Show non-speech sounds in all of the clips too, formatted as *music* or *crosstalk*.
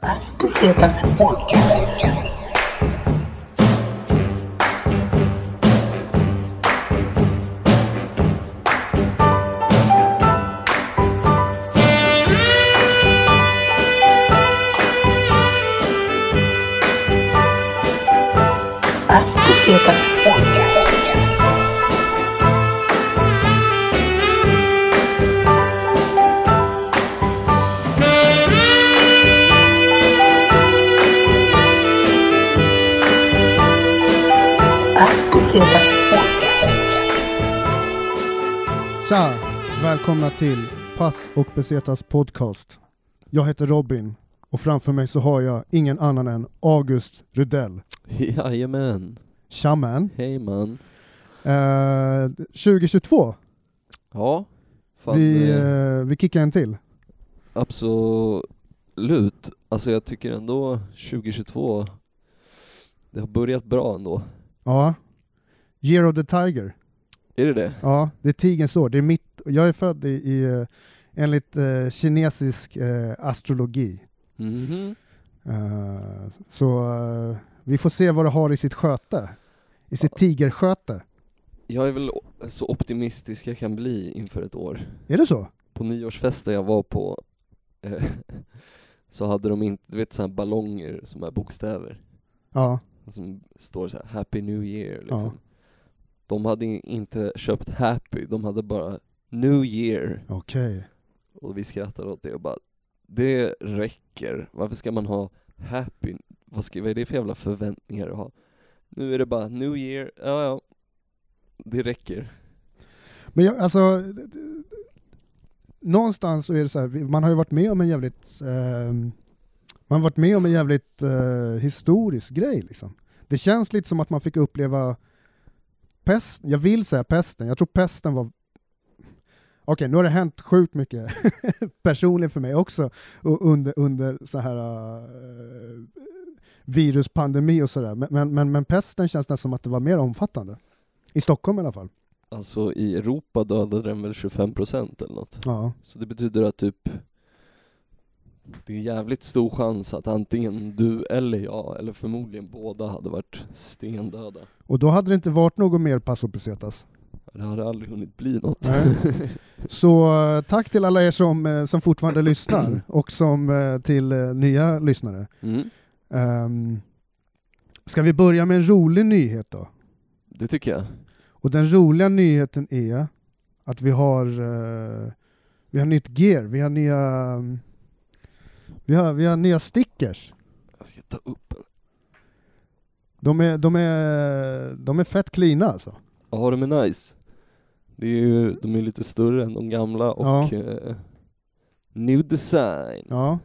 Papas Pesetas Podcast. Papas Pesetas Podcast. Papas Pesetas Podcast. Tja! Välkomna till Pass och Besetas podcast. Jag heter Robin och framför mig så har jag ingen annan än August Rudell. Jajamän. Tja man! Hej man. Eh, 2022, Ja. Fan, vi, eh, eh, vi kickar en till. absolut. Alltså jag tycker ändå 2022, det har börjat bra ändå. Ja. Year of the Tiger. Är det det? Ja, det är tigerns år. Det är mitt, jag är född i, i eh, enligt eh, kinesisk eh, astrologi. Mhm. Eh, så eh, vi får se vad det har i sitt sköte. I sitt tigersköte. Jag är väl o- så optimistisk jag kan bli inför ett år. Är det så? På nyårsfesten jag var på eh, *laughs* så hade de inte, du vet sådana ballonger som är bokstäver. Ja. Som står så här, Happy New Year Ja. liksom. De hade in- inte köpt Happy, de hade bara New Year. Okej. Och vi skrattade åt det och bara Det räcker, varför ska man ha happy? Vad, ska, vad är det för jävla förväntningar att ha? Nu är det bara new year, ja ja Det räcker Men jag, alltså, d- d- någonstans så är det så här, vi- man har ju varit med om en jävligt, eh, man har varit med om en jävligt eh, historisk grej liksom. Det känns lite som att man fick uppleva pest, jag vill säga pesten, jag tror pesten var Okej, nu har det hänt sjukt mycket *laughs* personligen för mig också och under, under så här eh, viruspandemi och sådär. Men, men, men, men pesten känns nästan som att det var mer omfattande. I Stockholm i alla fall. Alltså i Europa dödade den väl 25% eller något Ja. Så det betyder att typ Det är jävligt stor chans att antingen du eller jag, eller förmodligen båda hade varit stendöda Och då hade det inte varit något mer Paso Pesetas. Det hade aldrig hunnit bli något Nej. *laughs* Så eh, tack till alla er som, eh, som fortfarande lyssnar och som eh, till eh, nya lyssnare. mm, Ehm, Ska vi börja med en rolig nyhet då? Det tycker jag Och den roliga nyheten är att vi har, eh, vi har nytt gear, vi har nya, mm, vi har, vi har nya stickers. Jag ska ta upp en De är, de är, de är fett cleana alltså. Ja, de är nice. Det är ju, de är lite större än de gamla och Ja. eh, new design. Ja.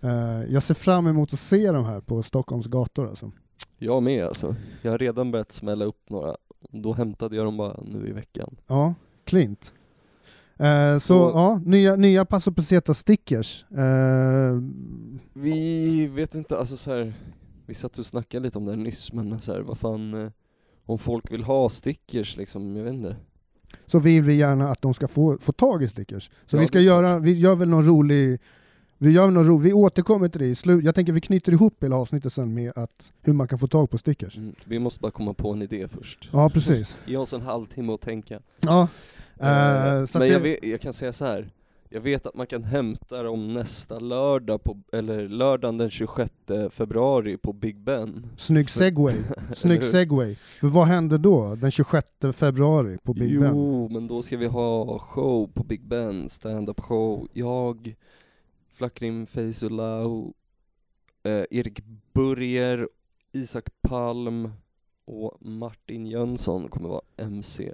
Eh, Jag ser fram emot att se de här på Stockholms gator alltså. Jag med alltså. Jag har redan börjat smälla upp några. Då hämtade jag dem bara nu i veckan. Ja, klint. Eh, så, Så- ja, nya, nya Paso Peseta stickers. Eh, Vi vet inte, alltså så här. Vi satt och snackade lite om det här nyss, men så här, vad fan. eh, Om folk vill ha stickers liksom, jag vet inte. så vill vi gärna att de ska få, få tag i stickers. Så Ja, vi ska det är göra, vi gör väl någon rolig, vi gör väl någon rolig, vi återkommer till det i slut. Jag tänker vi knyter ihop hela avsnittet sen med att, hur man kan få tag på stickers. Mm, Vi måste bara komma på en idé först. Ja, precis. Ge oss en halvtimme att tänka. Ja. Eh, Eh, så men att jag, det, vet, jag kan säga så här. Jag vet att man kan hämta dem nästa lördag, på, eller lördagen den 26 februari på Big Ben. snygg *laughs* segway. Eller Snygg hur? segway. För vad hände då, den 26 februari på Big jo, Ben? men då ska vi ha show på Big Ben, stand-up show. Jag, Flackrim Feyzulau, eh, Erik Burger, Isak Palm och Martin Jönsson kommer vara MC.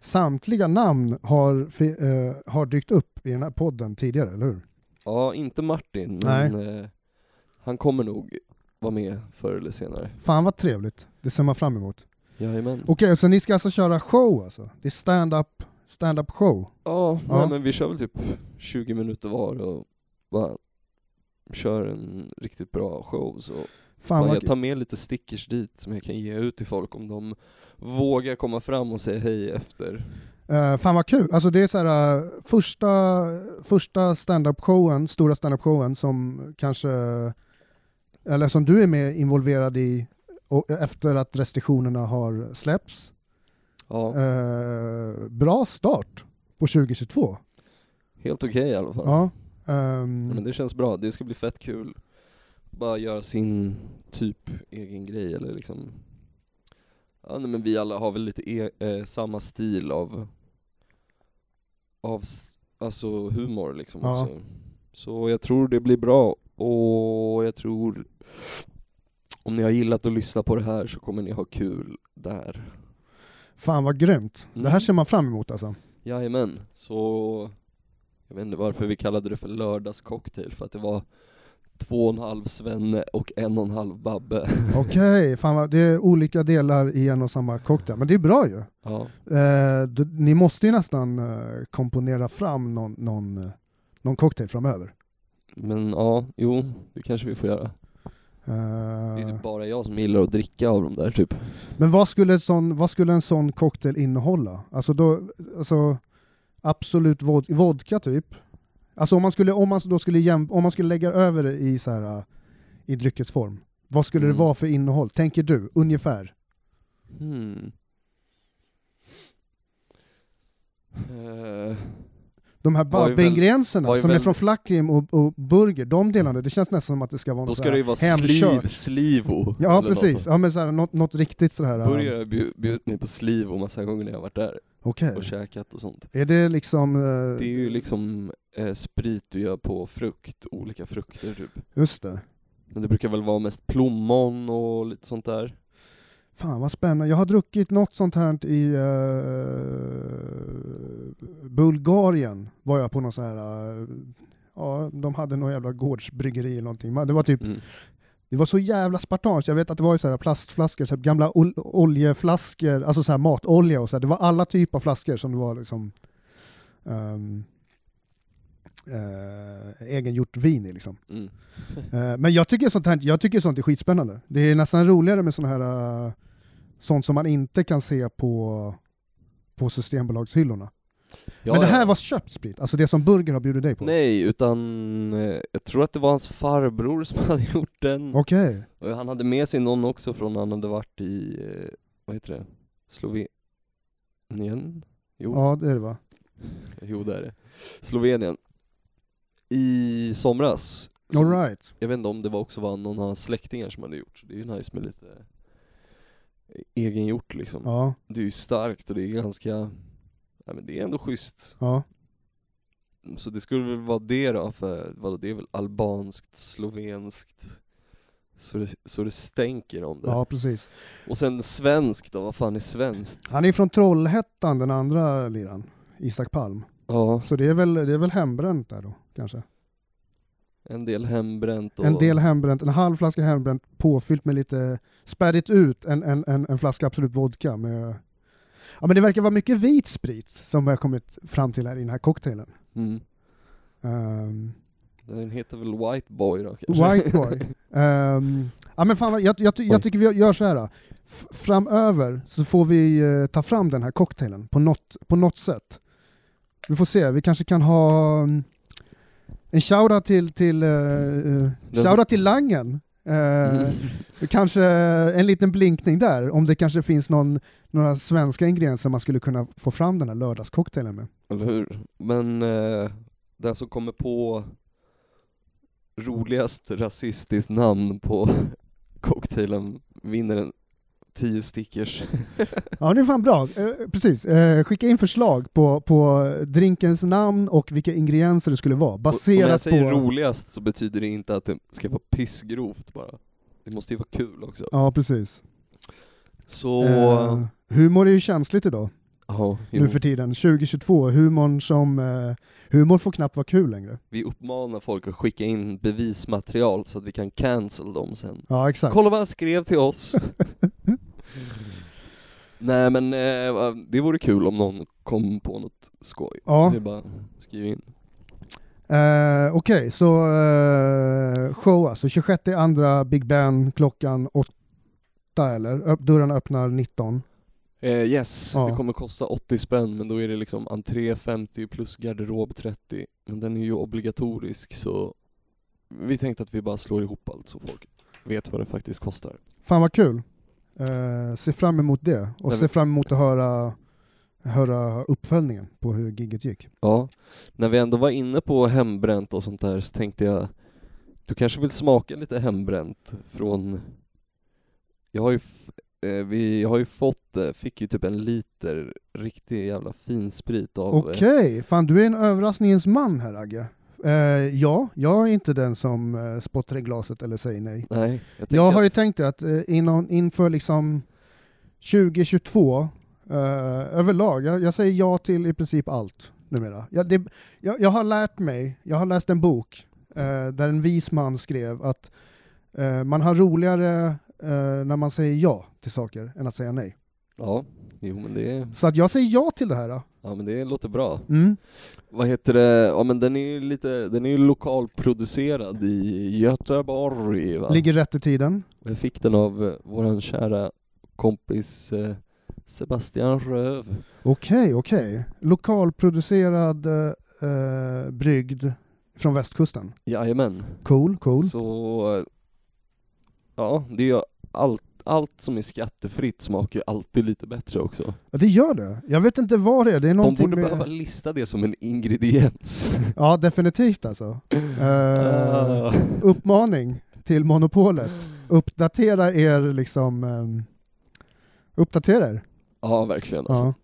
Samtliga namn har, fi- eh, har dykt upp i den här podden tidigare, eller hur? Ja, inte Martin, Nej. men eh, han kommer nog vara med förr eller senare. Fan vad trevligt, det ser man fram emot. Jajamän. Okej, så ni ska alltså köra show alltså? Det är stand-up stand up show? Ja, Ja. Nej, men vi kör väl typ 20 minuter var och bara kör en riktigt bra show så Fan Fan, vad jag tar med lite stickers dit som jag kan ge ut till folk om de vågar komma fram och säga hej efter. Eh, fan vad kul! Alltså det är så här, eh, första, första stand-up showen, stora stand-up showen som kanske eller som du är med involverad i och eh, efter att restriktionerna har släppts. Ja, Eh, bra start på 2022. helt okej i alla fall. Ja. ehm, Ja, Men det känns bra, det ska bli fett kul. Bara göra sin typ egen grej eller liksom Ja nej, men vi alla har väl lite e- eh, samma stil av av s- alltså humor liksom Ja. också. Så jag tror det blir bra och jag tror om ni har gillat att lyssna på det här så kommer ni ha kul där. Fan vad grymt. Det här Mm. ser man fram emot alltså. Jajamän, så jag vet inte varför vi kallade det för lördagscocktail för att det var två och en halv Svenne och en och en halv Babbe. Okej, fan vad, det är olika delar i en och samma cocktail. Men det är bra ju. Ja, Eh, d- ni måste ju nästan eh, komponera fram någon, någon, eh, någon cocktail framöver. men ja, jo, det kanske vi får göra. Det är Eh, typ bara jag som gillar att dricka av de där typ. men vad skulle, en sån, vad skulle en sån cocktail innehålla? Alltså, då, alltså absolut vod, vodka typ? Alltså om man skulle, om man då skulle, jäm, om man skulle lägga över det i, så här, eh, i dryckesform, vad skulle Mm. det vara för innehåll? Tänker du, ungefär? Hmm. Eh, De här Var ju väl- var Babbe-ingredienserna ju som är väl- från flakrim och, och burger, de delarna, det känns nästan som att det ska vara då något ska så det här ju vara hemkört. sliv, slivo. Ja, eller något precis. sånt. Ja, men så här, något, något riktigt sådär... Burgare har bjud- bjudit mig på slivo massa gånger när jag varit där Okej. och käkat och sånt. Är det liksom... eh, Det är ju liksom eh, sprit du gör på frukt, olika frukter typ. Just det. Men det brukar väl vara mest plommon och lite sånt där. Fan vad spännande. Jag har druckit något sånt här i eh, Bulgarien. Var jag på någon sån här... eh, ja, de hade någon jävla gårdsbryggeri eller någonting. Men Det var typ... Mm. Det var så jävla spartanskt. Jag vet att det var ju så här plastflaskor, typ gamla ol- oljeflaskor, alltså så här matolja och så här. Det var alla typer av flaskor som det var liksom ehm, eh, egengjort vin i liksom. Mm. Eh, men jag tycker, sånt här, jag tycker sånt är skitspännande. Det är nästan roligare med såna här eh, sånt som man inte kan se på, på Systembolagshyllorna. Ja, men det här ja. var köpt sprit, alltså det som Burger har bjudit dig på. Nej, utan eh, jag tror att det var hans farbror som *laughs* hade gjort den. Okej, Och han hade med sig någon också från när han hade varit i, eh, vad heter det, Slovenien? Jo, ja det är det va? jo det är det. Slovenien. I somras. Så- All right. Jag vet inte om det var också var någon av hans släktingar som hade gjort, så det är ju nice med lite e-, egengjort liksom. Ja, Det är ju starkt och det är ganska, nej men det är ändå schysst. ja. Så det skulle väl vara det då, för vadå, det är väl albanskt, slovenskt, så det, så det stänker om det. Ja, precis. Och sen svenskt då, vad fan är svenskt? Han är från Trollhättan, den andra liran. Isak Palm. Ja, Så det är väl, det är väl hembränt där då, kanske? en del hembränt och... En del hembränt, en halv flaska hembränt påfyllt med lite spädigt ut en, en, en, en flaska Absolut Vodka med... Ja men det verkar vara mycket vit sprit som jag kommit fram till här i den här cocktailen. Mm. Ehm, Den heter väl White Boy då kanske? White *laughs* Boy. Ehm, ja men fan, vad- jag, jag, ty- jag Oj. tycker vi gör så här. då. F- framöver så får vi eh, ta fram den här cocktailen på något, på något sätt. Vi får se, vi kanske kan ha mm, en shoutout till, till, eh, eh, som- shoutout till Langen. Eh, Mm. Kanske en liten blinkning där, om det kanske finns någon, några svenska ingredienser man skulle kunna få fram den här lördagscocktailen med. Eller hur? Men eh, den som kommer på roligast rasistiskt namn på *laughs* cocktailen vinner en 10 stickers. Ja, det är fan bra. Eh, precis. Eh, skicka in förslag på, på drinkens namn och vilka ingredienser det skulle vara, Och när jag baserat säger på... roligast så betyder det inte att det ska vara pissgrovt bara. Det måste ju vara kul också. Ja, precis. Så... Eh, humor är ju känsligt idag, ja, jo. nu för tiden. 2022, humorn som... Eh, humor får knappt vara kul längre. Vi uppmanar folk att skicka in bevismaterial så att vi kan cancel dem sen. Ja, exakt. Kolla vad han skrev *laughs* till oss! Nej men eh, va- det vore kul om någon kom på något skoj. Ja. Det är bara skriv in. Eh, Okej, så eh, show alltså. 26 andra Big Ben klockan 8 eller? Öpp, dörren öppnar 19. Eh, yes, Ja. det kommer kosta 80 spänn men då är det liksom entré 50 plus garderob 30. Men den är ju obligatorisk så vi tänkte att vi bara slår ihop allt så folk vet vad det faktiskt kostar. Fan vad kul. Eh, se fram emot det och Nej, se men- fram emot att höra, höra uppföljningen på hur gigget gick. Ja, när vi ändå var inne på hembränt och sånt där så tänkte jag Du kanske vill smaka lite hembränt från Jag har ju, f- eh, vi, jag har ju fått, eh, fick ju typ en liter riktig jävla finsprit av eh, Okej, fan du är en överraskningens man här Agge. Eh, ja, jag är inte den som eh, spottar i glaset eller säger nej. Nej, jag, Jag har ju att, tänkt det att eh, inom, inför liksom 2022 eh, överlag, jag, jag säger ja till i princip allt numera. Jag, det, jag, jag har lärt mig, jag har läst en bok eh, där en vis man skrev att eh, man har roligare eh, när man säger ja till saker än att säga nej. Ja, jo men det, Så att jag säger ja till det här. då. ja, men det låter bra Mm. Vad heter det, ja men den är ju lite, den är ju lokalproducerad i Göteborg va? Ligger rätt i tiden. Jag fick den av eh, våran kära kompis eh, Sebastian Röv Okej, okej. Lokalproducerad eh, eh, brygd från västkusten. Jajamän. Cool, cool. Så, ja, det är ju allt, allt som är skattefritt smakar ju alltid lite bättre också. Ja, det gör det. Jag vet inte vad det är. Det är De någonting borde med... behöva lista det som en ingrediens. Ja, definitivt *laughs* alltså. Eh, Ah. uppmaning till monopolet. Uppdatera er liksom... ehm, uppdatera er. *laughs* ja, verkligen alltså.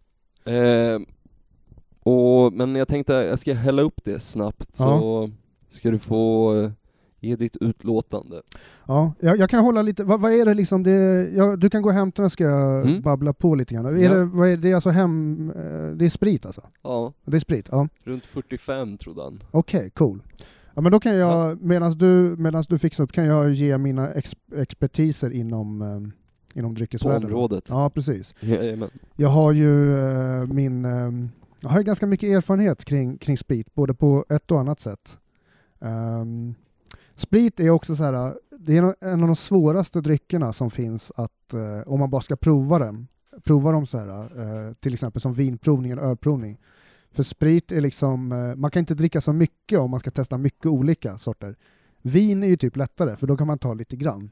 Ja. Eh, och, men jag tänkte, jag ska hälla upp det snabbt så ska du få eh, ge ditt utlåtande. Ja, jag, jag kan hålla lite, vad, vad är det liksom, det, ja, du kan gå och hämta den ska jag Mm. babbla på lite grann. Är Ja. det, vad är, det är alltså hem, eh, det är sprit alltså? Ja, Det är sprit, ja. runt 45 trodde han. Okej, cool. Ja, men då kan jag, medan du, medans du fixar upp, kan jag ge mina ex, expertiser inom, ehm, inom På dryckesvärlden. området. Ja, precis. Jajamän. Jag har ju eh, min... Eh, jag har ju ganska mycket erfarenhet kring, kring sprit, både på ett och annat sätt. Ehm, sprit är också så här, eh, det är no- en av de svåraste dryckerna som finns att, eh, om man bara ska prova den, prova dem så här, eh, till exempel som vinprovning eller ölprovning. För sprit är liksom, eh, man kan inte dricka så mycket om man ska testa mycket olika sorter. Vin är ju typ lättare, för då kan man ta lite grann.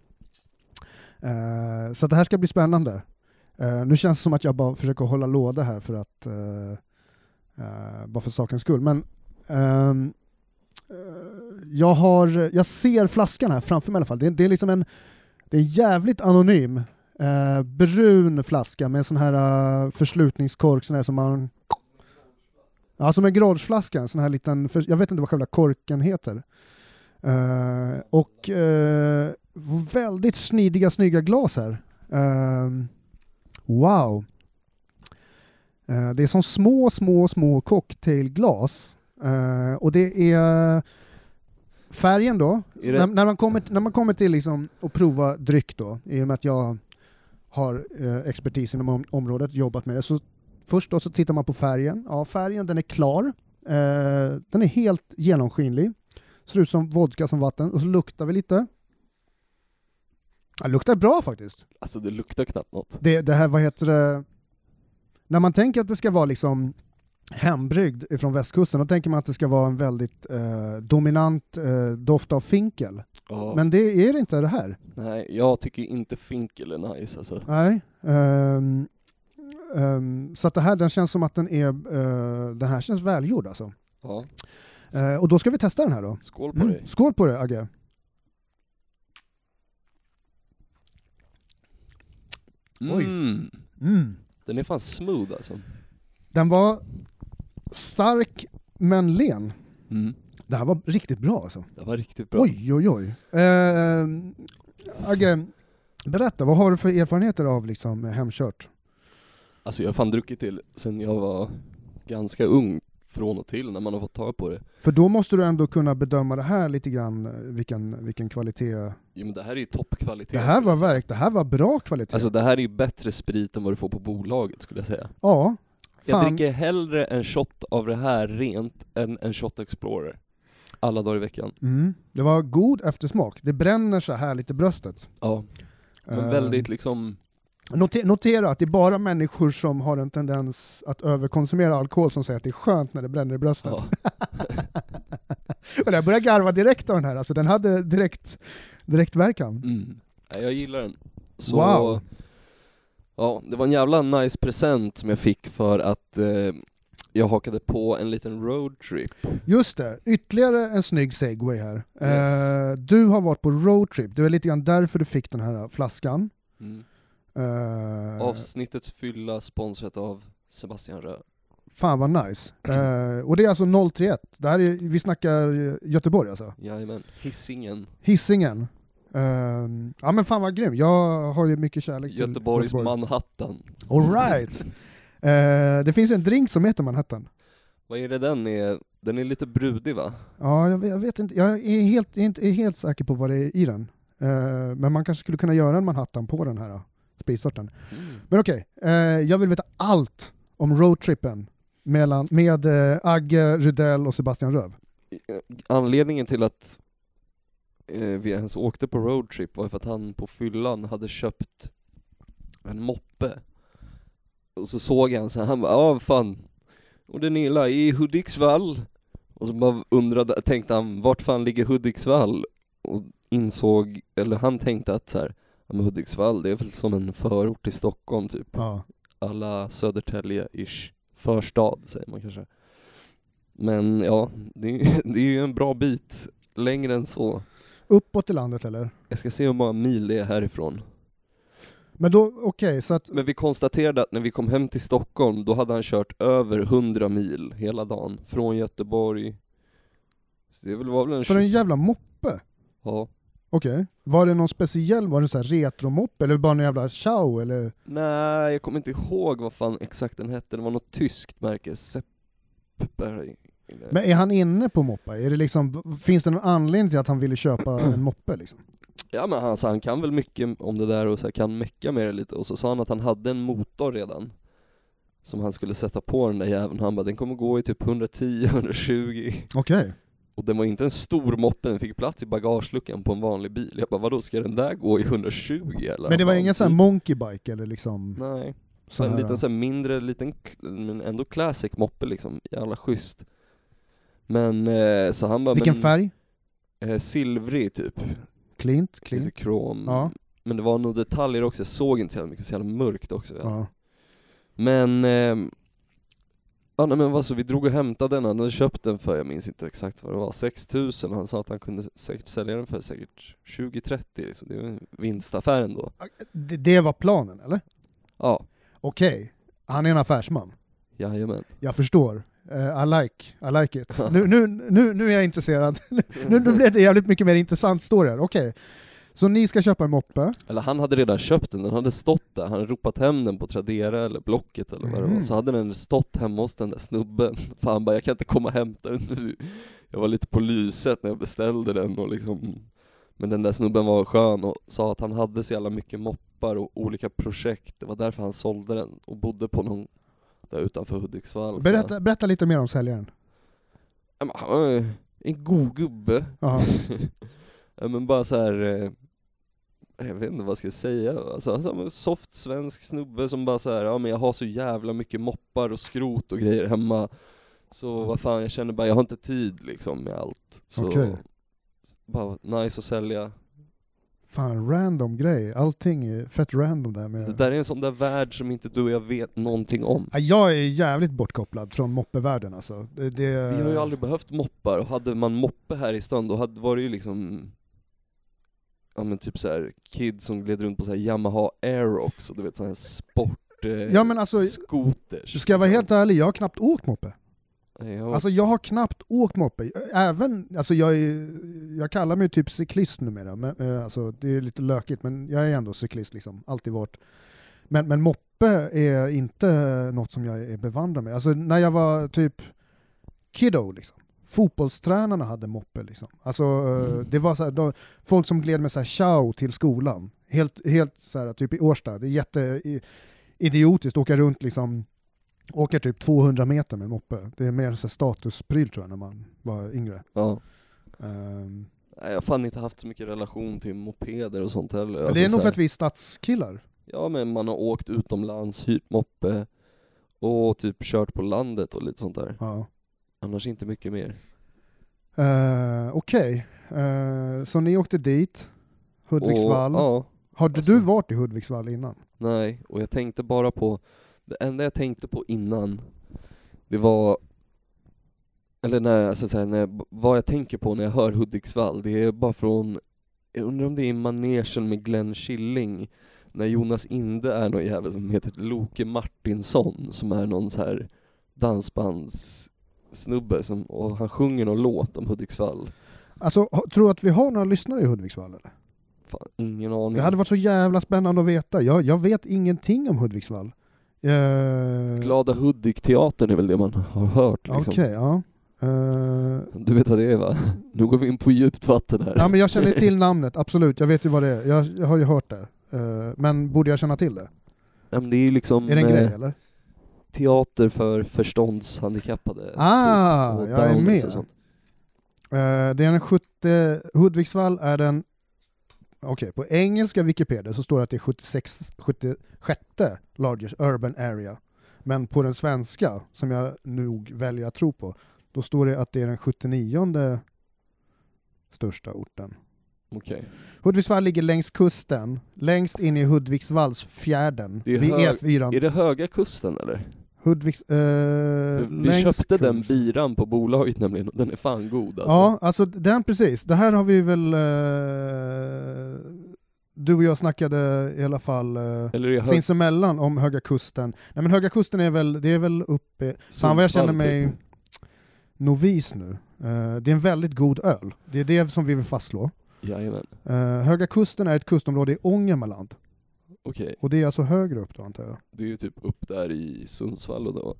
Eh, så att det här ska bli spännande. Eh, nu känns det som att jag bara försöker hålla låda här för att eh, eh, bara för sakens skull. Men ehm, eh, jag, har, jag ser flaskan här framför mig i alla fall. Det, det är liksom en det är en jävligt anonym eh, brun flaska med sån här eh, förslutningskork sån här som man Ja, som en grogeflaska, en sån här liten, för, jag vet inte vad själva korken heter. Eh, och eh, väldigt snidiga, snygga glas här. Ehm, Wow. Eh, Det är som små, små, små cocktailglas. Eh, Och det är färgen då. Är det- När, när, man kommer, när man kommer till liksom att prova dryck då, i och med att jag har eh, expertis inom om- området, jobbat med det, så först då så tittar man på färgen. Ja, färgen den är klar. Eh, Den är helt genomskinlig. Ser ut som vodka som vatten. Och så luktar vi lite. Ja, luktar bra faktiskt. Alltså det luktar knappt något. Det, det här, vad heter det? När man tänker att det ska vara liksom hembryggd från västkusten, då tänker man att det ska vara en väldigt eh, dominant eh, doft av finkel. Ja. Men det är det inte det här. Nej, jag tycker inte finkel är nice alltså. Nej. Ehm, ehm, så att det här, den känns som att den är, eh, den här känns välgjord alltså. Ja. Eh, och då ska vi testa den här då. Skål på Mm. dig. Skål på dig Agge. Oj. Mm. Mm. Den är fan smooth alltså. Den var stark men len. Mm. Det här var riktigt bra alltså. Det var riktigt bra. Oj, oj, oj. Eh, Agge, berätta, vad har du för erfarenheter av liksom hemkört? Alltså jag har fan druckit till sen jag var ganska ung från och till när man har fått tag på det. För då måste du ändå kunna bedöma det här lite grann, eh, vilken, vilken kvalitet. Jo men det här är ju toppkvalitet. Det här skulle var jag säga. verk, det här var bra kvalitet. Alltså det här är ju bättre sprit än vad du får på bolaget skulle jag säga. ja, Jag fan. dricker hellre en shot av det här rent än en shot Explorer. Alla dagar i veckan. Mm. Det var god eftersmak. Det bränner så här lite i bröstet. Ja. Men Eh, väldigt liksom, note- Notera att det är bara människor som har en tendens att överkonsumera alkohol som säger att det är skönt när det bränner i bröstet. ja. Och jag började garva direkt av den här, alltså den hade direkt, direkt verkan. Mm. Ja, Jag gillar den. Så, Wow. Ja, det var en jävla nice present som jag fick för att eh, jag hakade på en liten roadtrip. Just det, ytterligare en snygg segway här. Eh, Yes. du har varit på roadtrip, det var lite grann därför du fick den här eh, flaskan. Mm. Eh, Avsnittets fylla sponsrat av Sebastian Rö. Fan vad *clears throat* nice. Eh, och det är alltså 031, det här är, vi snackar eh, Göteborg alltså. Jajamän. Hisingen. Hisingen. Eh, ja men fan vad grym, jag har ju mycket kärlek till Göteborgs Göteborg. Manhattan. All right. Eh, det finns en drink som heter Manhattan. Vad är det den är? Den är lite brudig va? Ja, jag vet, jag vet inte. Jag är helt, jag är inte är helt säker på vad det är i den. Eh, men man kanske skulle kunna göra en Manhattan på den här eh, spritsorten. Mm. Men okej, eh, jag vill veta allt om roadtrippen mellan, med eh, Agge, Rydell och Sebastian Röv. eh, Anledningen till att eh, vi ens åkte på roadtrip var för att han på fyllan hade köpt en moppe. Och så såg han så här, han bara ja fan, och den är i Hudiksvall. Och så bara undrade, tänkte han vart fan ligger Hudiksvall? Och insåg, eller han tänkte att så här, ja, men Hudiksvall det är väl som en förort till Stockholm typ. Ja. alla Södertälje-ish förstad säger man kanske. Men ja, det är, det är ju en bra bit längre än så. Uppåt i landet eller? Jag ska se hur många mil det är härifrån. Men då, okej, så att, Men vi konstaterade att när vi kom hem till Stockholm, då hade han kört över 100 mil hela dagen. Från Göteborg. Så det väl- var väl en... för en tju- jävla moppe? Ja. Okej. Var det någon speciell, var det en sån här retromoppe eller bara en jävla chow eller? Nej, jag kommer inte ihåg vad fan exakt den hette. Det var något tyskt märke. Seppberg. Men är han inne på moppa? Är det liksom, finns det någon anledning till att han ville *clears throat* köpa en moppe liksom? Ja men han, så han kan väl mycket om det där och så här, kan mecka med det lite och så sa han att han hade en motor redan Som han skulle sätta på den där jäveln han bara den kommer gå i typ *laughs* 110-120 Okej. Och den var inte en stor moppe, den fick plats i bagageluckan på en vanlig bil Jag bara vadå ska den där gå i 120 Men eller? det Han var bara, ingen sån här "Typ." monkey bike eller liksom Nej, så sån en här, eh, liten så här mindre, liten kl- men ändå classic moppe liksom, jävla schysst Men eh, så han bara Vilken men, färg? Eh, silvrig typ Klint? Klint? Lite krom. Ja. Men det var nog detaljer också, jag såg inte så jävla mycket, så jävla mörkt också. Ja. Men... ehm, ja, nej, men vad så, vi drog och hämtade den, han hade köpt den för, jag minns inte exakt vad det var, 6000 han sa att han kunde säkert sälja den för säkert 20-30 så det var en vinstaffär ändå. Det, det var planen eller? Ja, Okej, han är en affärsman. jajamän. Jag förstår. Eh, I like, I like it. Nu, nu, nu, nu är jag intresserad. nu, nu blev det jävligt mycket mer intressant story här. Okej. Så ni ska köpa en moppe? Eller han hade redan köpt den, den hade stått där, han hade ropat hem den på Tradera eller Blocket eller vad det var, Mhm. så hade den stått hemma hos den där snubben. *laughs* För han bara, jag kan inte komma och hämta den nu. Jag var lite på lyset när jag beställde den och liksom Men den där snubben var skön och sa att han hade så jävla mycket moppar och olika projekt, det var därför han sålde den och bodde på någon där utanför Hudiksvall. Så- Berätta, berätta lite mer om säljaren. Ja, men Han var ju en god gubbe. Jaha. Ja, men bara så här. eh, Jag vet inte vad jag ska säga. Alltså, alltså, en soft svensk snubbe som bara så här, ja men jag har så jävla mycket moppar och skrot och grejer hemma. Så vad fan, jag känner bara, jag har inte tid liksom med allt. Så Okej. bara nice att sälja. Fan, random grej. Allting är fett random där med... Det där är en sån där värld som inte du och jag vet någonting om. Ja, Jag är jävligt bortkopplad från moppevärlden alltså. Det, det... Vi har ju aldrig behövt moppar och hade man moppe här i stan då hade, var det ju liksom Ja men typ såhär, kids som gled runt på såhär Yamaha Aerox och du vet sån här sport... Eh, Ja, men alltså- Scooters Ska jag vara helt ärlig, jag har knappt åkt moppe. Nej, jag, Alltså jag har knappt åkt moppe. Även, alltså jag, är, jag kallar mig typ cyklist numera, men, eh, alltså, det är lite lökigt men jag är ändå cyklist liksom, alltid varit. Men, men moppe är inte något som jag är bevandrad med. Alltså när jag var typ kiddo liksom, fotbollstränarna hade moppe liksom. Alltså eh, det var så här, då, folk som gled med så här chow till skolan. Helt, helt så här, typ i Årsta, det är jätte i- idiotiskt att åka runt liksom åker typ 200 meter med moppe. Det är mer en sån här statuspryl tror jag när man var yngre. ja. Ehm, Nej, jag har fan inte haft så mycket relation till mopeder och sånt heller men Alltså det är nog såhär- för att vi är stadskillar. Ja men man har åkt utomlands, hyrt moppe och typ kört på landet och lite sånt där Ja. Annars inte mycket mer Eh, Okej, Eh, så ni åkte dit, Hudiksvall. Och, ja, Hade alltså- du varit i Hudiksvall innan? nej. Och jag tänkte bara på, det enda jag tänkte på innan, det var eller när, alltså så här, när jag, vad jag tänker på när jag hör Hudiksvall, det är bara från, jag undrar om det är i manegen med Glenn Killing, när Jonas Inde är någon jävel som heter Loke Martinsson, som är någon så här dansbandssnubbe, som, och han sjunger någon låt om Hudiksvall. Alltså, ha- tror du att vi har några lyssnare i Hudiksvall? Eller? Fan, ingen aning. Det hade varit så jävla spännande att veta. Jag, jag vet ingenting om Hudiksvall. Eh, Glada Hudik-teatern är väl det man har hört Okej, liksom. ja. Eh, Du vet vad det är va? Nu går vi in på djupt vatten här. ja men jag känner *laughs* till namnet, absolut. Jag vet ju vad det är. Jag, jag har ju hört det. Eh, men borde jag känna till det? Nej, men det är ju liksom Är det en eh, grej eller? teater för förståndshandikappade. typ, Ah, och jag är Downs med. och sånt. Eh, det är den 70, Hudiksvall är den, okej på engelska Wikipedia så står det att det är 76, 76 largest urban area. Men på den svenska, som jag nog väljer att tro på, då står det att det är den 79 största orten. Okej. Hudiksvall ligger längs kusten, längst in i Hudiksvallsfjärden, Det är vid E hög- E4. Är det Höga Kusten eller? Hudiks, eh, För vi längs köpte den kusten. biran på bolaget nämligen och den är fan god alltså. Ja, alltså den precis. Det här har vi väl... Eh, du och jag snackade i alla fall eh, Eller är det hög... sinsemellan om Höga Kusten. Nej men Höga Kusten är väl, det är väl uppe... Fan vad jag Sundsvall, känner mig typ. novis nu. Eh, det är en väldigt god öl. Det är det som vi vill fastslå. Jajamän. Eh, Höga Kusten är ett kustområde i Ångermanland. Okej, Och det är alltså högre upp då antar jag. det är ju typ upp där i Sundsvall och, då.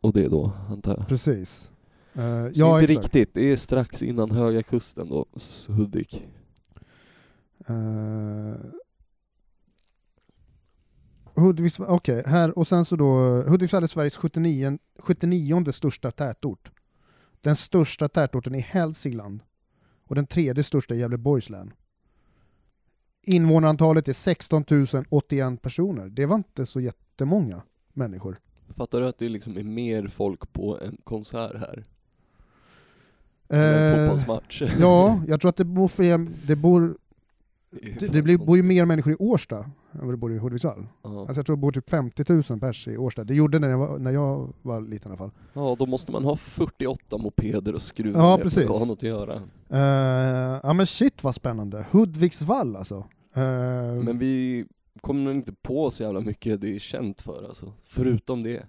och det då, antar jag. Precis. Eh, Så ja, inte exakt. riktigt, det är strax innan Höga Kusten då, s- Hudik. Uh, Hudiksvall, okej, här och sen så då Hudiksvall är Sveriges 79, 79 största tätort. Den största tätorten i Hälsingland och den tredje största i Gävleborgs län. Invånarantalet är 16 081 personer. Det var inte så jättemånga människor. Fattar du att det liksom är mer folk på en konsert här? än en Eh, fotbollsmatch? *laughs* ja, jag tror att det bor fler, det bor, Det, är det, det fan blir, bor ju konstigt. mer människor i Årsta än vad det bor i Hudiksvall. Ja. Alltså jag tror det bor typ 50 000 pers i Årsta. Det gjorde det när jag var, när jag var liten i alla fall. ja, då måste man ha 48 mopeder och skruva Ja, ner för precis. Mm. att ha något att göra. Eh, ja men shit vad spännande. Hudiksvall alltså. Eh, Men vi kommer nog inte på så jävla mycket det är känt för alltså, förutom det.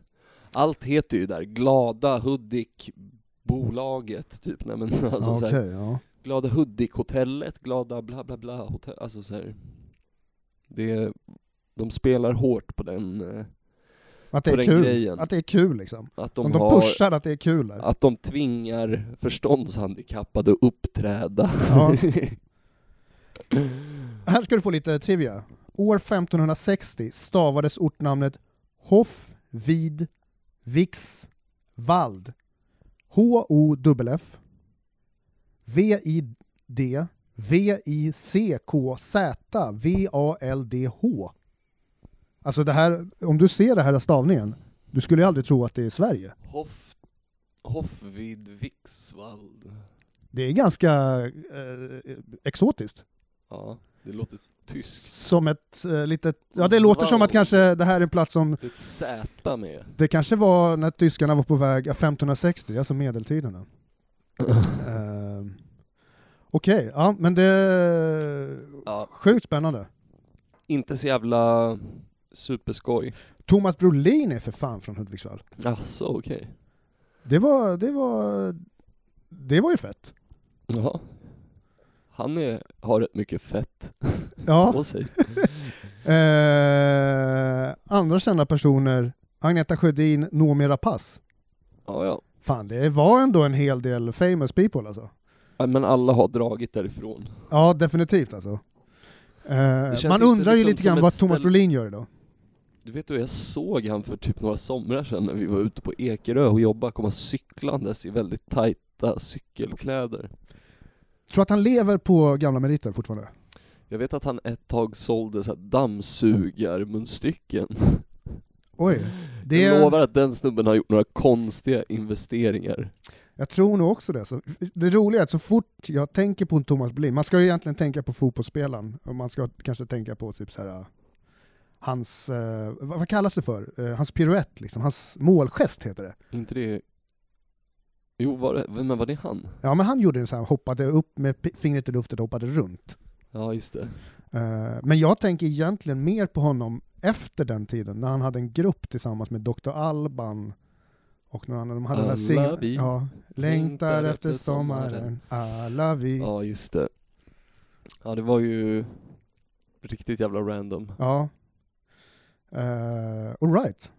Allt heter ju där Glada Hudik bolaget typ, nej men *laughs* alltså ja, så här, okej, ja. Glada Hudik-hotellet, Glada bla bla bla hotell, alltså så här. Det är, de spelar hårt på den, eh, Att det på är den kul. grejen. Att det är kul liksom. att De, de, de har, pushar att det är kul. Där. att de tvingar förståndshandikappade att uppträda. Ja. Här ska du få lite trivia. År 1560 stavades ortnamnet Hoff vid Vix Vald. H-O-F-F V-I-D V-I-C-K-Z V-A-L-D-H Alltså det här, om du ser det här stavningen, du skulle ju aldrig tro att det är Sverige. *laughs* Hoff, Hoff vid Viksvall. Det är ganska eh, exotiskt. Ja, det låter tyskt. Som ett eh, litet, ja det låter som att kanske det här är en plats som Det är ett Z med. Det kanske var när tyskarna var på väg, ja, 1560, alltså medeltiderna. Ehm, Okej, ja men det är Ja, sjukt spännande. inte så jävla superskoj. Thomas Brolin är för fan från Hudiksvall. Alltså, okej. Det var, det var, det var ju fett. Jaha. Han är, har rätt mycket fett Ja. på sig. Eh, andra kända personer, Agneta Sjödin, Noomi Rapace. Ja, ja. Fan, det var ändå en hel del famous people alltså. Ja, Men alla har dragit därifrån. Ja, definitivt alltså. Eh, känns man inte undrar ju liksom lite som grann ett vad Thomas ställ- Brolin gör idag. Du vet du, jag såg han för typ några somrar sedan när vi var ute på Ekerö och jobbade, komma cyklandes i väldigt tajta cykelkläder. Tror att han lever på gamla meriter fortfarande? Jag vet att han ett tag sålde så här dammsugarmunstycken. Oj. Det, Jag lovar att den snubben har gjort några konstiga investeringar. Jag tror nog också det. Så, det roliga är att så fort jag tänker på en Thomas Brolin, man ska ju egentligen tänka på fotbollsspelaren, och man ska kanske tänka på typ så här hans, eh, vad, vad kallas det för? Eh, hans piruett liksom, hans målgest heter det. Inte det... Jo, var det... men var det han? Ja men han gjorde en sån här, hoppade upp med p- fingret i luften och hoppade runt. Ja, just det. Eh, men jag tänker egentligen mer på honom efter den tiden, när han hade en grupp tillsammans med Dr. Alban och några andra. De hade den här Alla sing- vi ja, längtar efter sommaren, alla vi. Ja, just det. Ja, det var ju riktigt jävla random. Ja. Uh, Alright.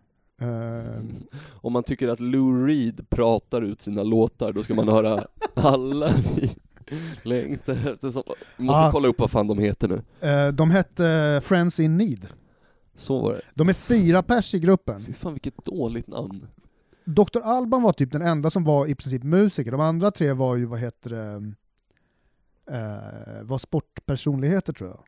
Uh, Om man tycker att Lou Reed pratar ut sina låtar, då ska *laughs* man höra alla vi längtar efter som... Måste Ah. kolla upp vad fan de heter nu. eh, de hette Friends in Need. Så var det. De är fyra pers i gruppen. Fy fan vilket dåligt namn. Dr. Alban var typ den enda som var i princip musiker. De andra tre var ju, vad heter det, eh, var sportpersonligheter tror jag.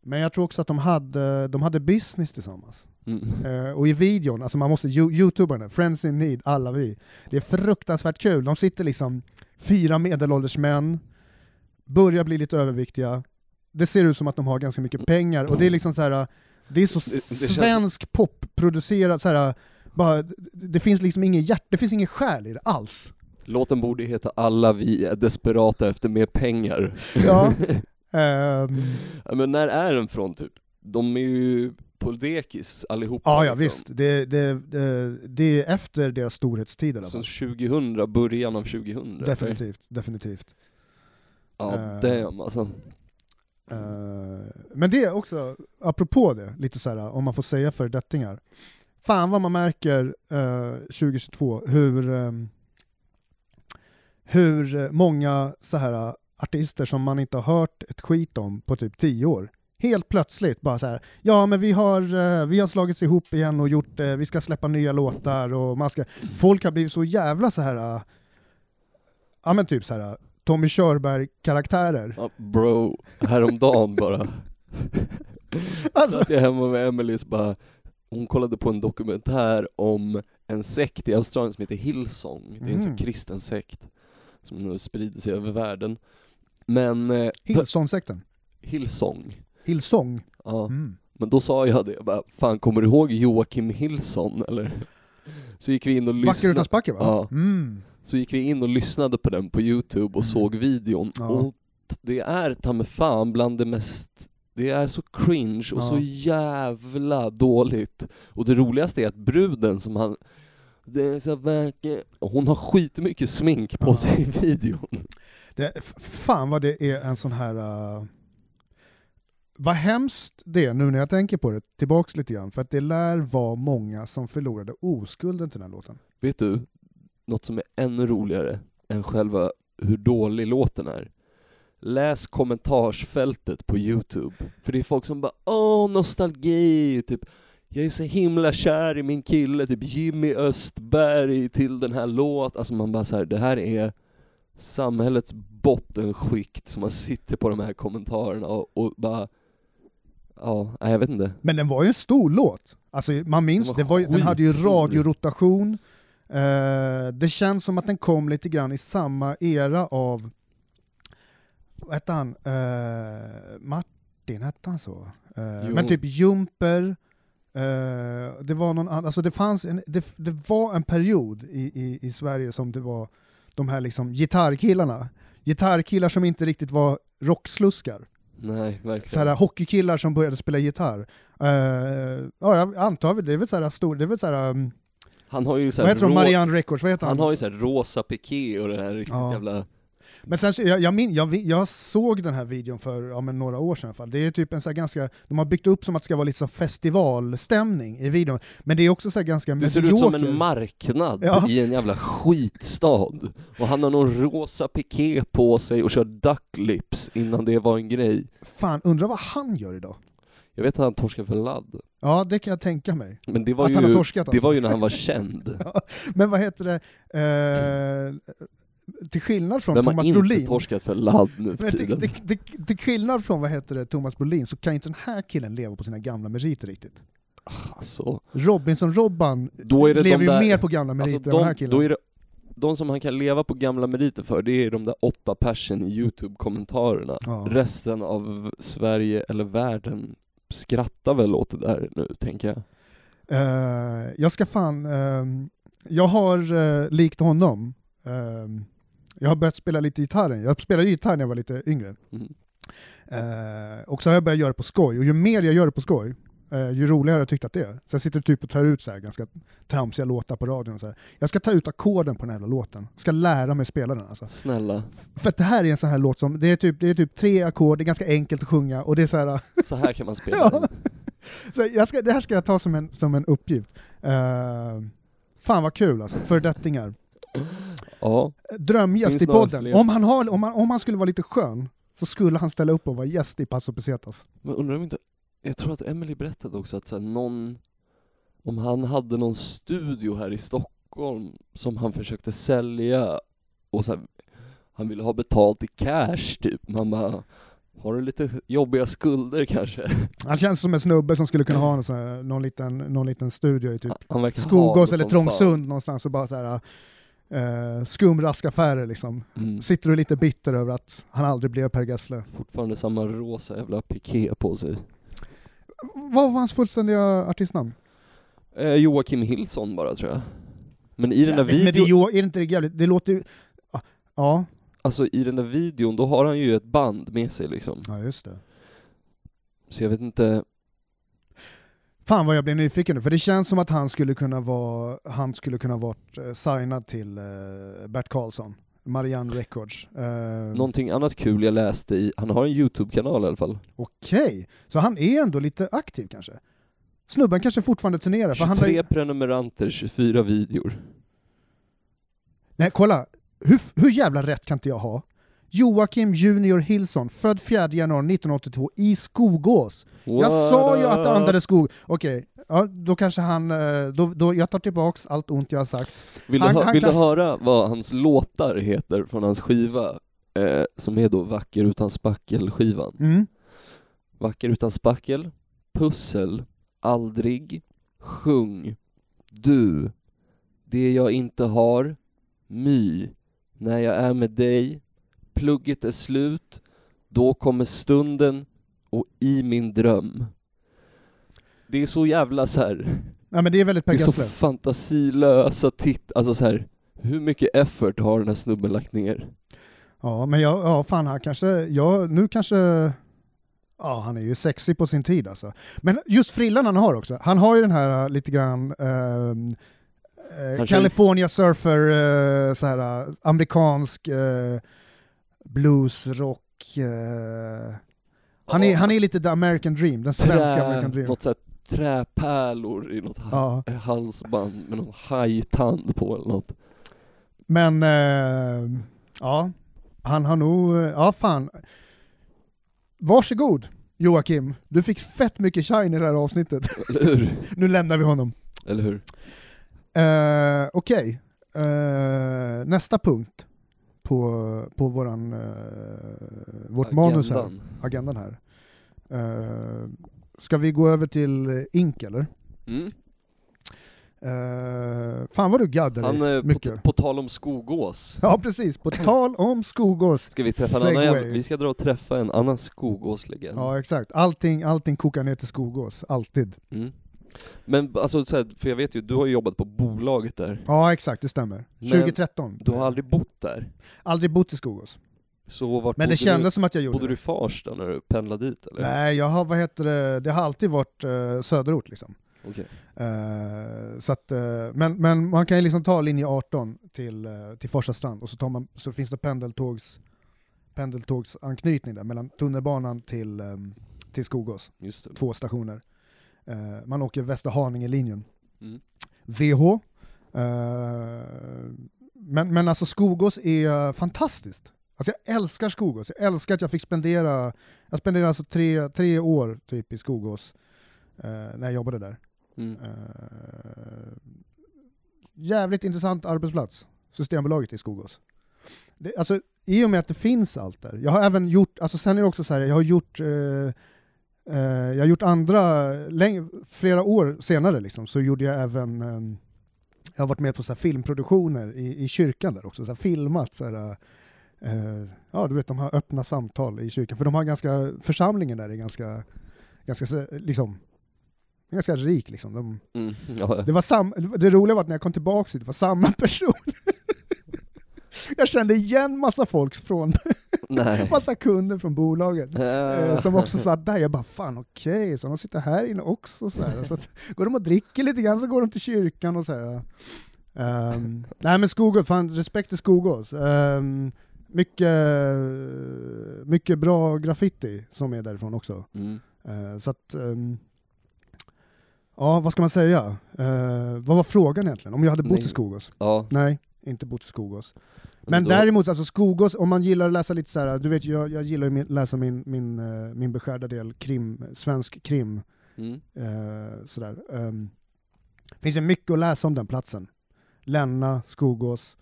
Men jag tror också att de hade, de hade business tillsammans. Mm. Eh, och i videon, alltså man måste, you- youtubarna, Friends in Need, alla vi. Det är fruktansvärt kul. De sitter liksom, fyra medelålders män, börjar bli lite överviktiga. Det ser ut som att de har ganska mycket pengar och det är liksom så här. det är så Det- det känns- svensk popproducerat så här. Bara, det- det finns liksom ingen hjärta, det finns ingen själ i det alls. Låten borde heta Alla vi är desperata efter mer pengar. Ja. *laughs* Ehm, Ja, Men när är den från typ? De är ju på dekis allihopa. Ah, ja, ja liksom. visst. Det, det, det, det är efter deras storhetstid i alla Så fall. 2000, liksom. början av 2000. Definitivt, definitivt. Ja, Eh. damn alltså. Eh, men det är också, apropå det, lite så här, om man får säga föredettingar. Fan vad man märker eh, 2022 hur, ehm, hur eh, många så här eh, artister som man inte har hört ett skit om på typ 10 år, helt plötsligt bara så här, ja men vi har, eh, vi har slagits ihop igen och gjort, eh, vi ska släppa nya låtar och man ska, folk har blivit så jävla så här, eh, ja men typ så här Tommy Körberg-karaktärer. Ja, bro, *laughs* häromdagen bara. Alltså, Satt jag hemma med Emelies bara, hon kollade på en dokumentär om en sekt i Australien som heter Hillsong. Det är en sån Mhm. kristen sekt som nu sprider sig över världen. Men eh, Hillsong-sekten. Hillsong, Hillsong. ja. Mm. Men då sa jag det, jag bara, fan kommer du ihåg Joakim Hillson eller? Så gick vi in och Backer lyssnade, utan spacker va? Ja. Mm. så gick vi in och lyssnade på den på youtube Mm. och såg videon Ja. och t- det är ta mig fan bland det mest det är så cringe och Ja. så jävla dåligt. Och det roligaste är att bruden som han... Det är så vacker. Hon har skitmycket smink på Ja. sig i videon. Det, f- fan vad det är en sån här... Uh, vad hemskt det är nu när jag tänker på det, tillbaks lite grann, för att det lär vara många som förlorade oskulden till den här låten. Vet du, något som är ännu roligare än själva hur dålig låten är? Läs kommentarsfältet på Youtube, för det är folk som bara åh nostalgi, typ jag är så himla kär i min kille, typ Jimmy Östberg till den här låten. Alltså man bara så här, det här är samhällets bottenskikt som man sitter på de här kommentarerna och, och bara, ja, nej, jag vet inte. Men den var ju en stor låt. Alltså man minns, Den var det var ju, den hade ju skitstor. radiorotation. Eh, det känns som att den kom lite grann i samma era av... Vad hette han? Eh, Martin, hette han så? Eh, Jo. men typ Jumper. eh, det var någon annan, alltså det fanns en, det, det var en period i, i, i Sverige som det var de här liksom gitarrkillarna. Gitarrkillar som inte riktigt var rocksluskar Nej, så verkligen. här, hockeykillar som började spela gitarr. Eh, ja, jag antar väl, det är väl så här stor, det är väl så här, um, Han har ju så vad här heter de, rå- Marianne Records, vad heter han? Han har ju såhär rosa piké och den här riktigt Ja. jävla... Men sen, så- jag, jag, min, jag, vi- jag såg den här videon för ja, men några år sedan i alla fall. Det är typ en så här ganska, de har byggt upp som att det ska vara lite så festivalstämning i videon. Men det är också så här ganska Det ser ut som medioker. en marknad Ja. i en jävla skitstad. Och han har någon rosa piké på sig och kör ducklips innan det var en grej. Fan, undrar vad han gör idag? Jag vet att han torskade för ladd. Ja, det kan jag tänka mig. Men det var, att han har ju, torskat det alltså. var ju när han var känd. Men vad heter det, Eh, till skillnad från Vem har Thomas inte Brolin. torskat för ladd nu för Men till, tiden? till, till, till skillnad från vad heter det, Thomas Brolin så kan ju inte den här killen leva på sina gamla meriter riktigt. Alltså, Robinson-Robban då är det lever de ju där... mer på gamla meriter alltså, än den här de, killen. då är det de som han kan leva på gamla meriter för, det är de där åtta persen i YouTube-kommentarerna. Ja. Resten av Sverige eller världen skrattar väl åt det där nu, tänker jag. Eh, jag ska fan... ehm, jag har, eh, likt honom, ehm, jag har börjat spela lite gitarr. Jag spelade gitarr när jag var lite yngre. Mm. Eh, och så har jag börjat göra det på skoj, och ju mer jag gör det på skoj, eh, ju roligare har jag tyckt att det är. Så jag sitter typ och tar ut så här ganska tramsiga låtar på radion och så här. Jag ska ta ut ackorden på den här jävla låten. Ska lära mig spela den alltså. Snälla, För att det här är en sån här låt som, det är typ, det är typ tre ackord, det är ganska enkelt att sjunga och det är så här, så här kan man spela. *laughs* Ja. Så jag ska, det här ska jag ta som en, som en uppgift. Uh, fan vad kul alltså, föredettingar. ja. Drömgäst Finns i några podden. fler? Om han, har, om, han, om han skulle vara lite skön så skulle han ställa upp och vara gäst i Paso Pesetas. Men undrar om inte, jag tror att Emily berättade också att så här, någon, om han hade någon studio här i Stockholm som han försökte sälja och så här, han ville ha betalt i cash typ. Man bara, har du lite jobbiga skulder kanske? Han känns som en snubbe som skulle kunna ha en sån här, någon, liten, någon liten studio i typ Han verkar ha Skogås det eller som Trångsund någonstans och bara så här eh, skumraskaffärer liksom. fan. Mm, Sitter och är lite bitter över att han aldrig blev Per Gessle. fortfarande samma rosa jävla piké på sig. Vad var hans fullständiga artistnamn? Eh, Joakim Hillson bara tror jag. Men i den där men, men det, är videon, ju- är inte det jävligt, det låter ju... Ja, Ja, alltså i den där videon, då har han ju ett band med sig liksom. ja just det. Så jag vet Mm. inte, Fan vad jag blev nyfiken nu, för det känns som att han skulle kunna vara, han skulle kunna varit eh, signad till eh, Bert Karlsson, Marianne Records. Eh, Någonting annat kul jag läste i, han har en YouTube-kanal i alla fall. Okej, så han är ändå lite aktiv kanske? Snubben kanske fortfarande turnerar, för han har 23 ju- prenumeranter, 24 videor. Nej kolla, hur, hur jävla rätt kan inte jag ha? Joakim Junior Hillson, född 4 januari 1982 i Skogås. Jag sa ju att det andades skog. Okej, ja, då kanske han... eh, Då, då, jag tar tillbaks allt ont jag har sagt. Vill, han- du, hö- han vill du kanske- höra vad hans låtar heter från hans skiva? Eh, som är då Vacker utan spackel-skivan. Mm. Vacker utan spackel, Pussel, Aldrig, Sjung, Du, Det jag inte har, My, När jag är med dig, Plugget är slut, Då kommer stunden och I min dröm. Det är så jävla så här. Nej men det är väldigt Per Det är så Gessle. fantasilösa titt, alltså så här. Hur mycket effort har den här snubben lagt ner? Ja, men jag, ja, fan han kanske, ja, nu kanske, ja han är ju sexig på sin tid alltså. Men just frillan han har också, han har ju den här äh, lite grann ehm, eh, kör- California surfer, eh, så här, eh, amerikansk eh, bluesrock. Eh. Han, är, Ja. han är lite the American dream, den svenska American dream. något så här träpärlor i något ha- Ja. halsband med någon hajtand på eller något. Men eh, ja, han har nog, eh, ja fan. Varsågod Joakim, du fick fett mycket shine i det här avsnittet. Eller hur? Nu lämnar vi honom. Eller hur? Eh, Okej, Eh, nästa punkt på, på våran, eh, vårt manus här, Agendan. agendan här. Eh, ska vi gå över till Ink eller? Mm. Eh, fan vad du gaddar Han, dig eh, på, mycket. på tal om Skogås. Ja precis, på tal om Skogås. Ska vi träffa en annan jävla, Segway. vi ska dra och träffa en annan Skogåslegend. Ja exakt, allting, allting kokar ner till Skogås, alltid. Mm. Men alltså så här, för jag vet ju, du har ju jobbat på bolaget där. Ja exakt, det stämmer. Men 2013. Du har aldrig bott där. Aldrig bott i Skogås. Så vart Men det bodde du? kändes som att jag gjorde Bodde det. du i Farsta när du pendlade dit eller? Nej, jag har, vad heter det, det har alltid varit eh, söderort liksom. Okej. Eh, så att, eh, men, men man kan ju liksom ta linje 18 till, eh, till Forsa strand och så, tar man, så finns det pendeltågs, pendeltågsanknytning där mellan tunnelbanan till, eh, till Skogås, Just det. två stationer. Eh, man åker Västerhaninge-linjen. Mm. VH. Eh, men, men alltså Skogås är fantastiskt. Alltså jag älskar Skogås. Jag älskar att jag fick spendera, jag spenderade alltså tre, tre år typ i Skogås eh, när jag jobbade där. Mm. Eh, jävligt intressant arbetsplats, Systembolaget i Skogås. Det, alltså, I och med att det finns allt där. Jag har även gjort, alltså sen är det också så här, jag har gjort eh, eh, jag har gjort andra, läng- flera år senare liksom, så gjorde jag även eh, jag har varit med på så här filmproduktioner i, i kyrkan där också, så här filmat så här, eh, ja du vet de har öppna samtal i kyrkan, för de har ganska, församlingen där är ganska, ganska så- liksom, ganska rik liksom. De, Mm, *laughs* ja. det, var sam, det roliga var att när jag kom tillbaka hit, det var samma *laughs* person. jag kände igen massa folk från, *laughs* Nej. massa kunder från bolaget. Eh, Eh, som också satt där. Jag bara, fan okej, så de sitter här inne också. Så här. Så att, går de och dricker lite grann så går de till kyrkan och så här. Ehm, nej men Skogås, fan respekt till Skogås. Ehm, mycket, mycket bra graffiti som är därifrån också. Mm. Eh, så att, ehm, ja vad ska man säga? Eh, vad var frågan egentligen? Om jag hade bott Nej. i Skogås? Ja. Nej, inte bott i Skogås. Men då- däremot, alltså Skogås, om man gillar att läsa lite så här, du vet jag, jag gillar ju min, läsa min, min, eh, min beskärda del krim, svensk krim, Mm. eh, sådär. Ehm, finns ju mycket att läsa om den platsen. Länna, Skogås,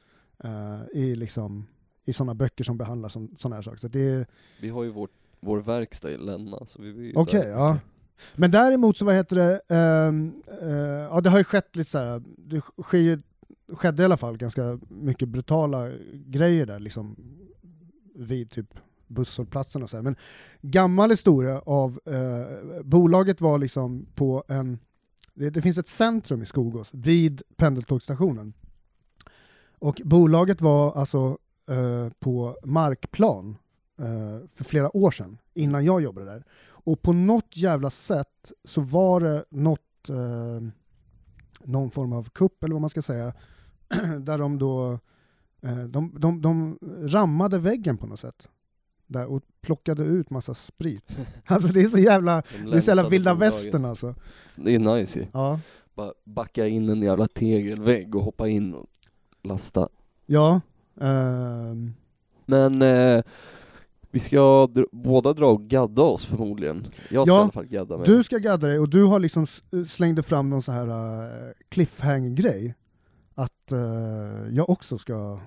eh, i liksom, i sådana böcker som behandlar sådana här saker. Så att det är, Vi har ju vårt, vår verkstad i Länna, så vi är ju Okej, där. *laughs* ja. Men däremot så, vad heter det, ehm, eh, ja det har ju skett lite så här, det sker, ju- skedde i alla fall ganska mycket brutala grejer där liksom vid typ busshållplatsen och så här. Men gammal historia av, eh, bolaget var liksom på en, det, det finns ett centrum i Skogås vid pendeltågsstationen. Och bolaget var alltså eh, på markplan eh, för flera år sedan, innan jag jobbade där. Och på något jävla sätt så var det något, eh, någon form av kupp eller vad man ska säga, *clears throat* där de då eh, de, de, de rammade väggen på något sätt. Där och plockade ut massa sprit. *laughs* Alltså det är så jävla, De det är så jävla länsade vilda bolaget. västern alltså. Det är nice ju. Ja. Bara backa in en jävla tegelvägg och hoppa in och lasta. Ja. ehm, Men eh, vi ska dr- båda dra och gadda oss förmodligen. Jag ska Ja, i alla fall gadda mig. du ska gadda dig och du har liksom s- slängde fram någon så här eh, cliffhanger-grej. Att eh, jag också ska...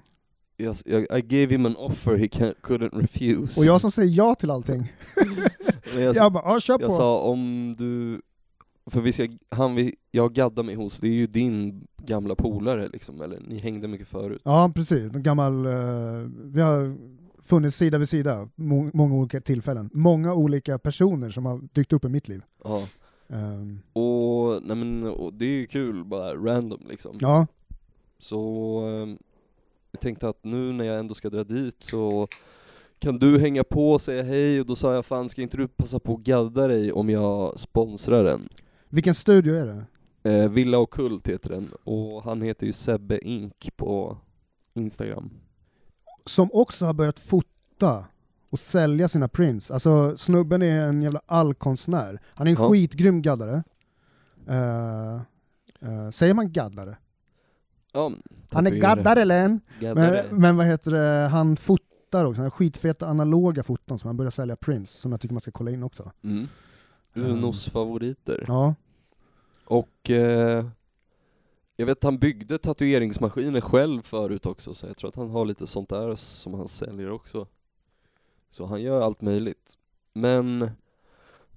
Jag, jag, I gave him an offer he can, couldn't refuse. Och jag som säger ja till allting. Men jag, Jag bara, ja kör jag på. sa om du... För vi ska, han vi, jag gaddar mig hos, det är ju din gamla polare liksom, eller ni hängde mycket förut. Ja, precis. En gammal... eh, vi har funnits sida vid sida må- många olika tillfällen. Många olika personer som har dykt upp i mitt liv. Ja. Ehm, Och, nej men, och det är ju kul, bara random liksom. ja, Så eh, jag tänkte att nu när jag ändå ska dra dit så kan du hänga på och säga hej och då sa jag fan ska inte du passa på att gadda dig om jag sponsrar den? vilken studio är det? Eh, Villa och Kult heter den och han heter ju Sebbe Ink på Instagram. Som också har börjat fota och sälja sina prints. Alltså snubben är en jävla allkonstnär. Han är en Ja. skitgrym gaddare. Eh, eh, säger man gaddare? Ja, Han är tatuerare. gaddare län! Gaddare. Men, men vad heter det, han fotar också. Han har skitfeta analoga foton som han börjar sälja prints som jag tycker man ska kolla in också. Mm. Unos favoriter. Ja. Och eh, jag vet att han byggde tatueringsmaskiner själv förut också så jag tror att han har lite sånt där som han säljer också. Så han gör allt möjligt. Men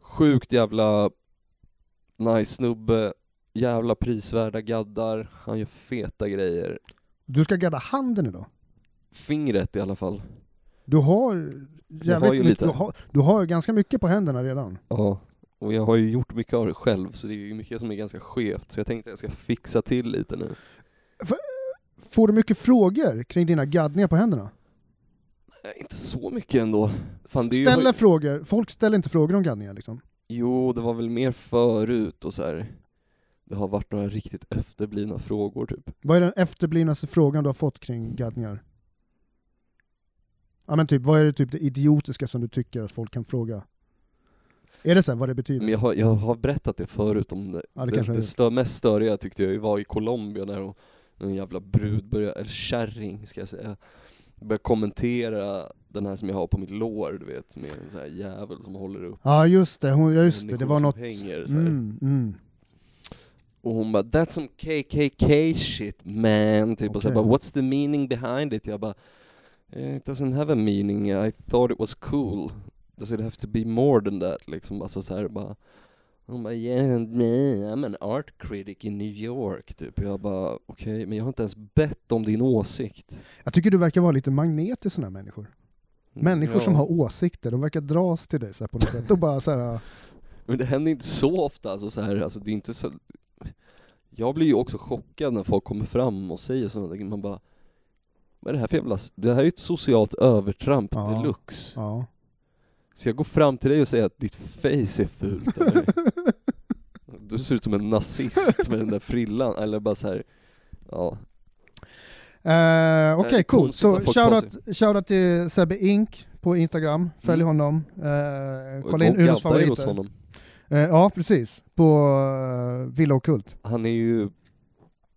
sjukt jävla nice snubbe, jävla prisvärda gaddar, han gör feta grejer. Du ska gadda handen idag. Fingret i alla fall. Du har jävligt ju mycket, lite. du har, du har ganska mycket på händerna redan. Ja. Och jag har ju gjort mycket av det själv så det är ju mycket som är ganska skevt så jag tänkte att jag ska fixa till lite nu. Får du mycket frågor kring dina gaddningar på händerna? Nej, inte så mycket ändå. Fan, det är ju- Ställer frågor, folk ställer inte frågor om gaddningar liksom. Jo, det var väl mer förut och så här. Det har varit några riktigt efterblivna frågor typ. Vad är den efterblivnaste frågan du har fått kring gaddningar? Ja men typ, vad är det typ det idiotiska som du tycker att folk kan fråga? Är det så här, vad det betyder? Men jag har, jag har berättat det förut om det. ja, det Det, kanske det det, stö, mest störiga tyckte jag ju var i Colombia när hon, en jävla brud började, eller kärring ska jag säga, började kommentera den här som jag har på mitt lår du vet, med en sån här jävel som håller upp. ja just det, hon, ja, just det, det Människor var som något... hänger så här. Mm, mm. Och hon bara 'That's some KKK shit man' typ och så jag Okej. bara 'What's the meaning behind it?' Jag bara eh, 'It doesn't have a meaning, I thought it was cool' Does it have to be more than that liksom? Alltså så här bara Hon bara yeah, me, I'm an art critic in New York typ. Och jag bara okej, men jag har inte ens bett om din åsikt. Jag tycker du verkar vara lite magnet till sådana här människor. Människor som har åsikter, de verkar dras till dig så här på något sätt. Och bara så här, Men det händer inte så ofta, alltså så här, alltså det är inte så Jag blir ju också chockad när folk kommer fram och säger sådana där man bara Vad är det här för jävla, s- det här är ju ett socialt övertramp Ja. deluxe ja. Så jag går fram till dig och säger att ditt face är *laughs* fult eller? Du ser ut som en nazist med den där frillan, eller bara så här. Ja, Eh, Okej, det är cool. konstigt Så att folk tar shoutout, shoutout till Sebbe Ink på Instagram. Följ Mm. honom. Eh, kolla in Unos Och gadda er hos favoriter. honom Eh, ja, precis. På uh, Villa Ockult. Han är ju,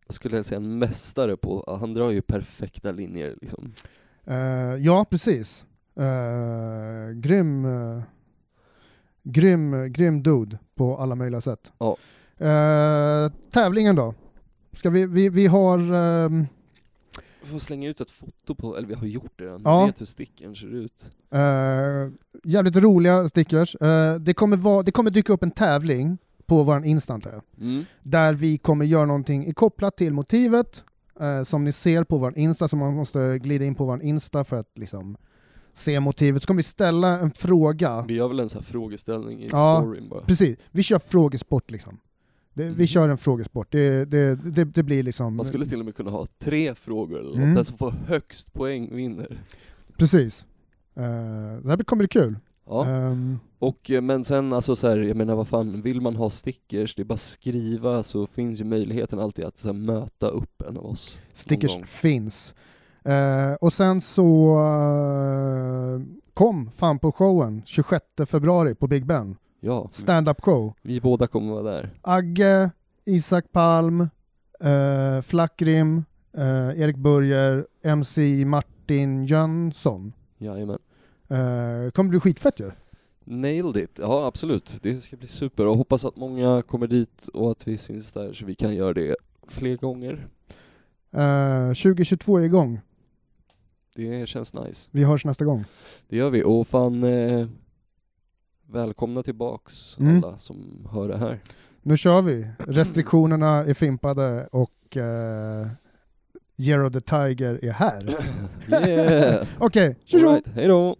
jag skulle säga en mästare på, han drar ju perfekta linjer liksom Eh, ja, precis. Eh, grym, eh, grym, eh, grym dude på alla möjliga sätt. Ja. Eh, tävlingen då? Ska vi, vi, vi har... ehm, Vi får slänga ut ett foto på, eller vi har gjort det redan, Ja. vi vet hur stickern ser ut. Eh, jävligt roliga stickers. Eh, det, kommer vara, det kommer dyka upp en tävling på vår instant här, Mm. där vi kommer göra någonting kopplat till motivet eh, som ni ser på vår Insta, så man måste glida in på vår Insta för att liksom se motivet. Så kommer vi ställa en fråga. Vi gör väl en sån här frågeställning i Ja. storyn bara. Precis, vi kör frågesport liksom. Det, Vi Mm. kör en frågesport. Det, det, det, det blir liksom... Man skulle till och med kunna ha tre frågor eller något. Mm. Den som får högst poäng vinner. Precis. Eh, det här kommer bli kul. Ja. Ehm, Och, eh, men sen alltså så här, jag menar vad fan, vill man ha stickers, det är bara att skriva så finns ju möjligheten alltid att så här, möta upp en av oss. Stickers Någon gång. finns. Eh, och sen så eh, kom fan på showen 26 februari på Big Ben. Ja, Stand-up show. vi båda kommer vara där. Agge, Isak Palm, eh, Flackrim, eh, Erik Börjer, MC Martin Jönsson. Jajamän. Eh, kommer bli skitfett ju. Nailed it! Ja absolut, det ska bli super och hoppas att många kommer dit och att vi syns där så vi kan göra det fler gånger. Eh, 2022 är igång. Det känns nice. Vi hörs nästa gång. Det gör vi och fan eh, välkomna tillbaks Mm. alla som hör det här. Nu kör vi. Restriktionerna är fimpade och eh, Year of the Tiger är här. *laughs* Yeah! Okej, tjo tjo! Alright, hejdå!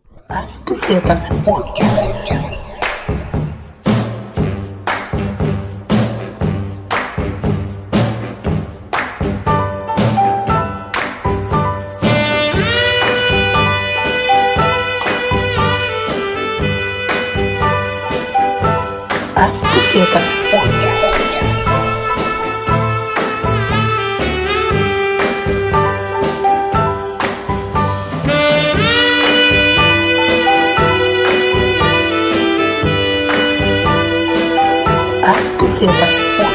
Bucetas Podcast. Bucetas Podcast. Bucetas Podcast.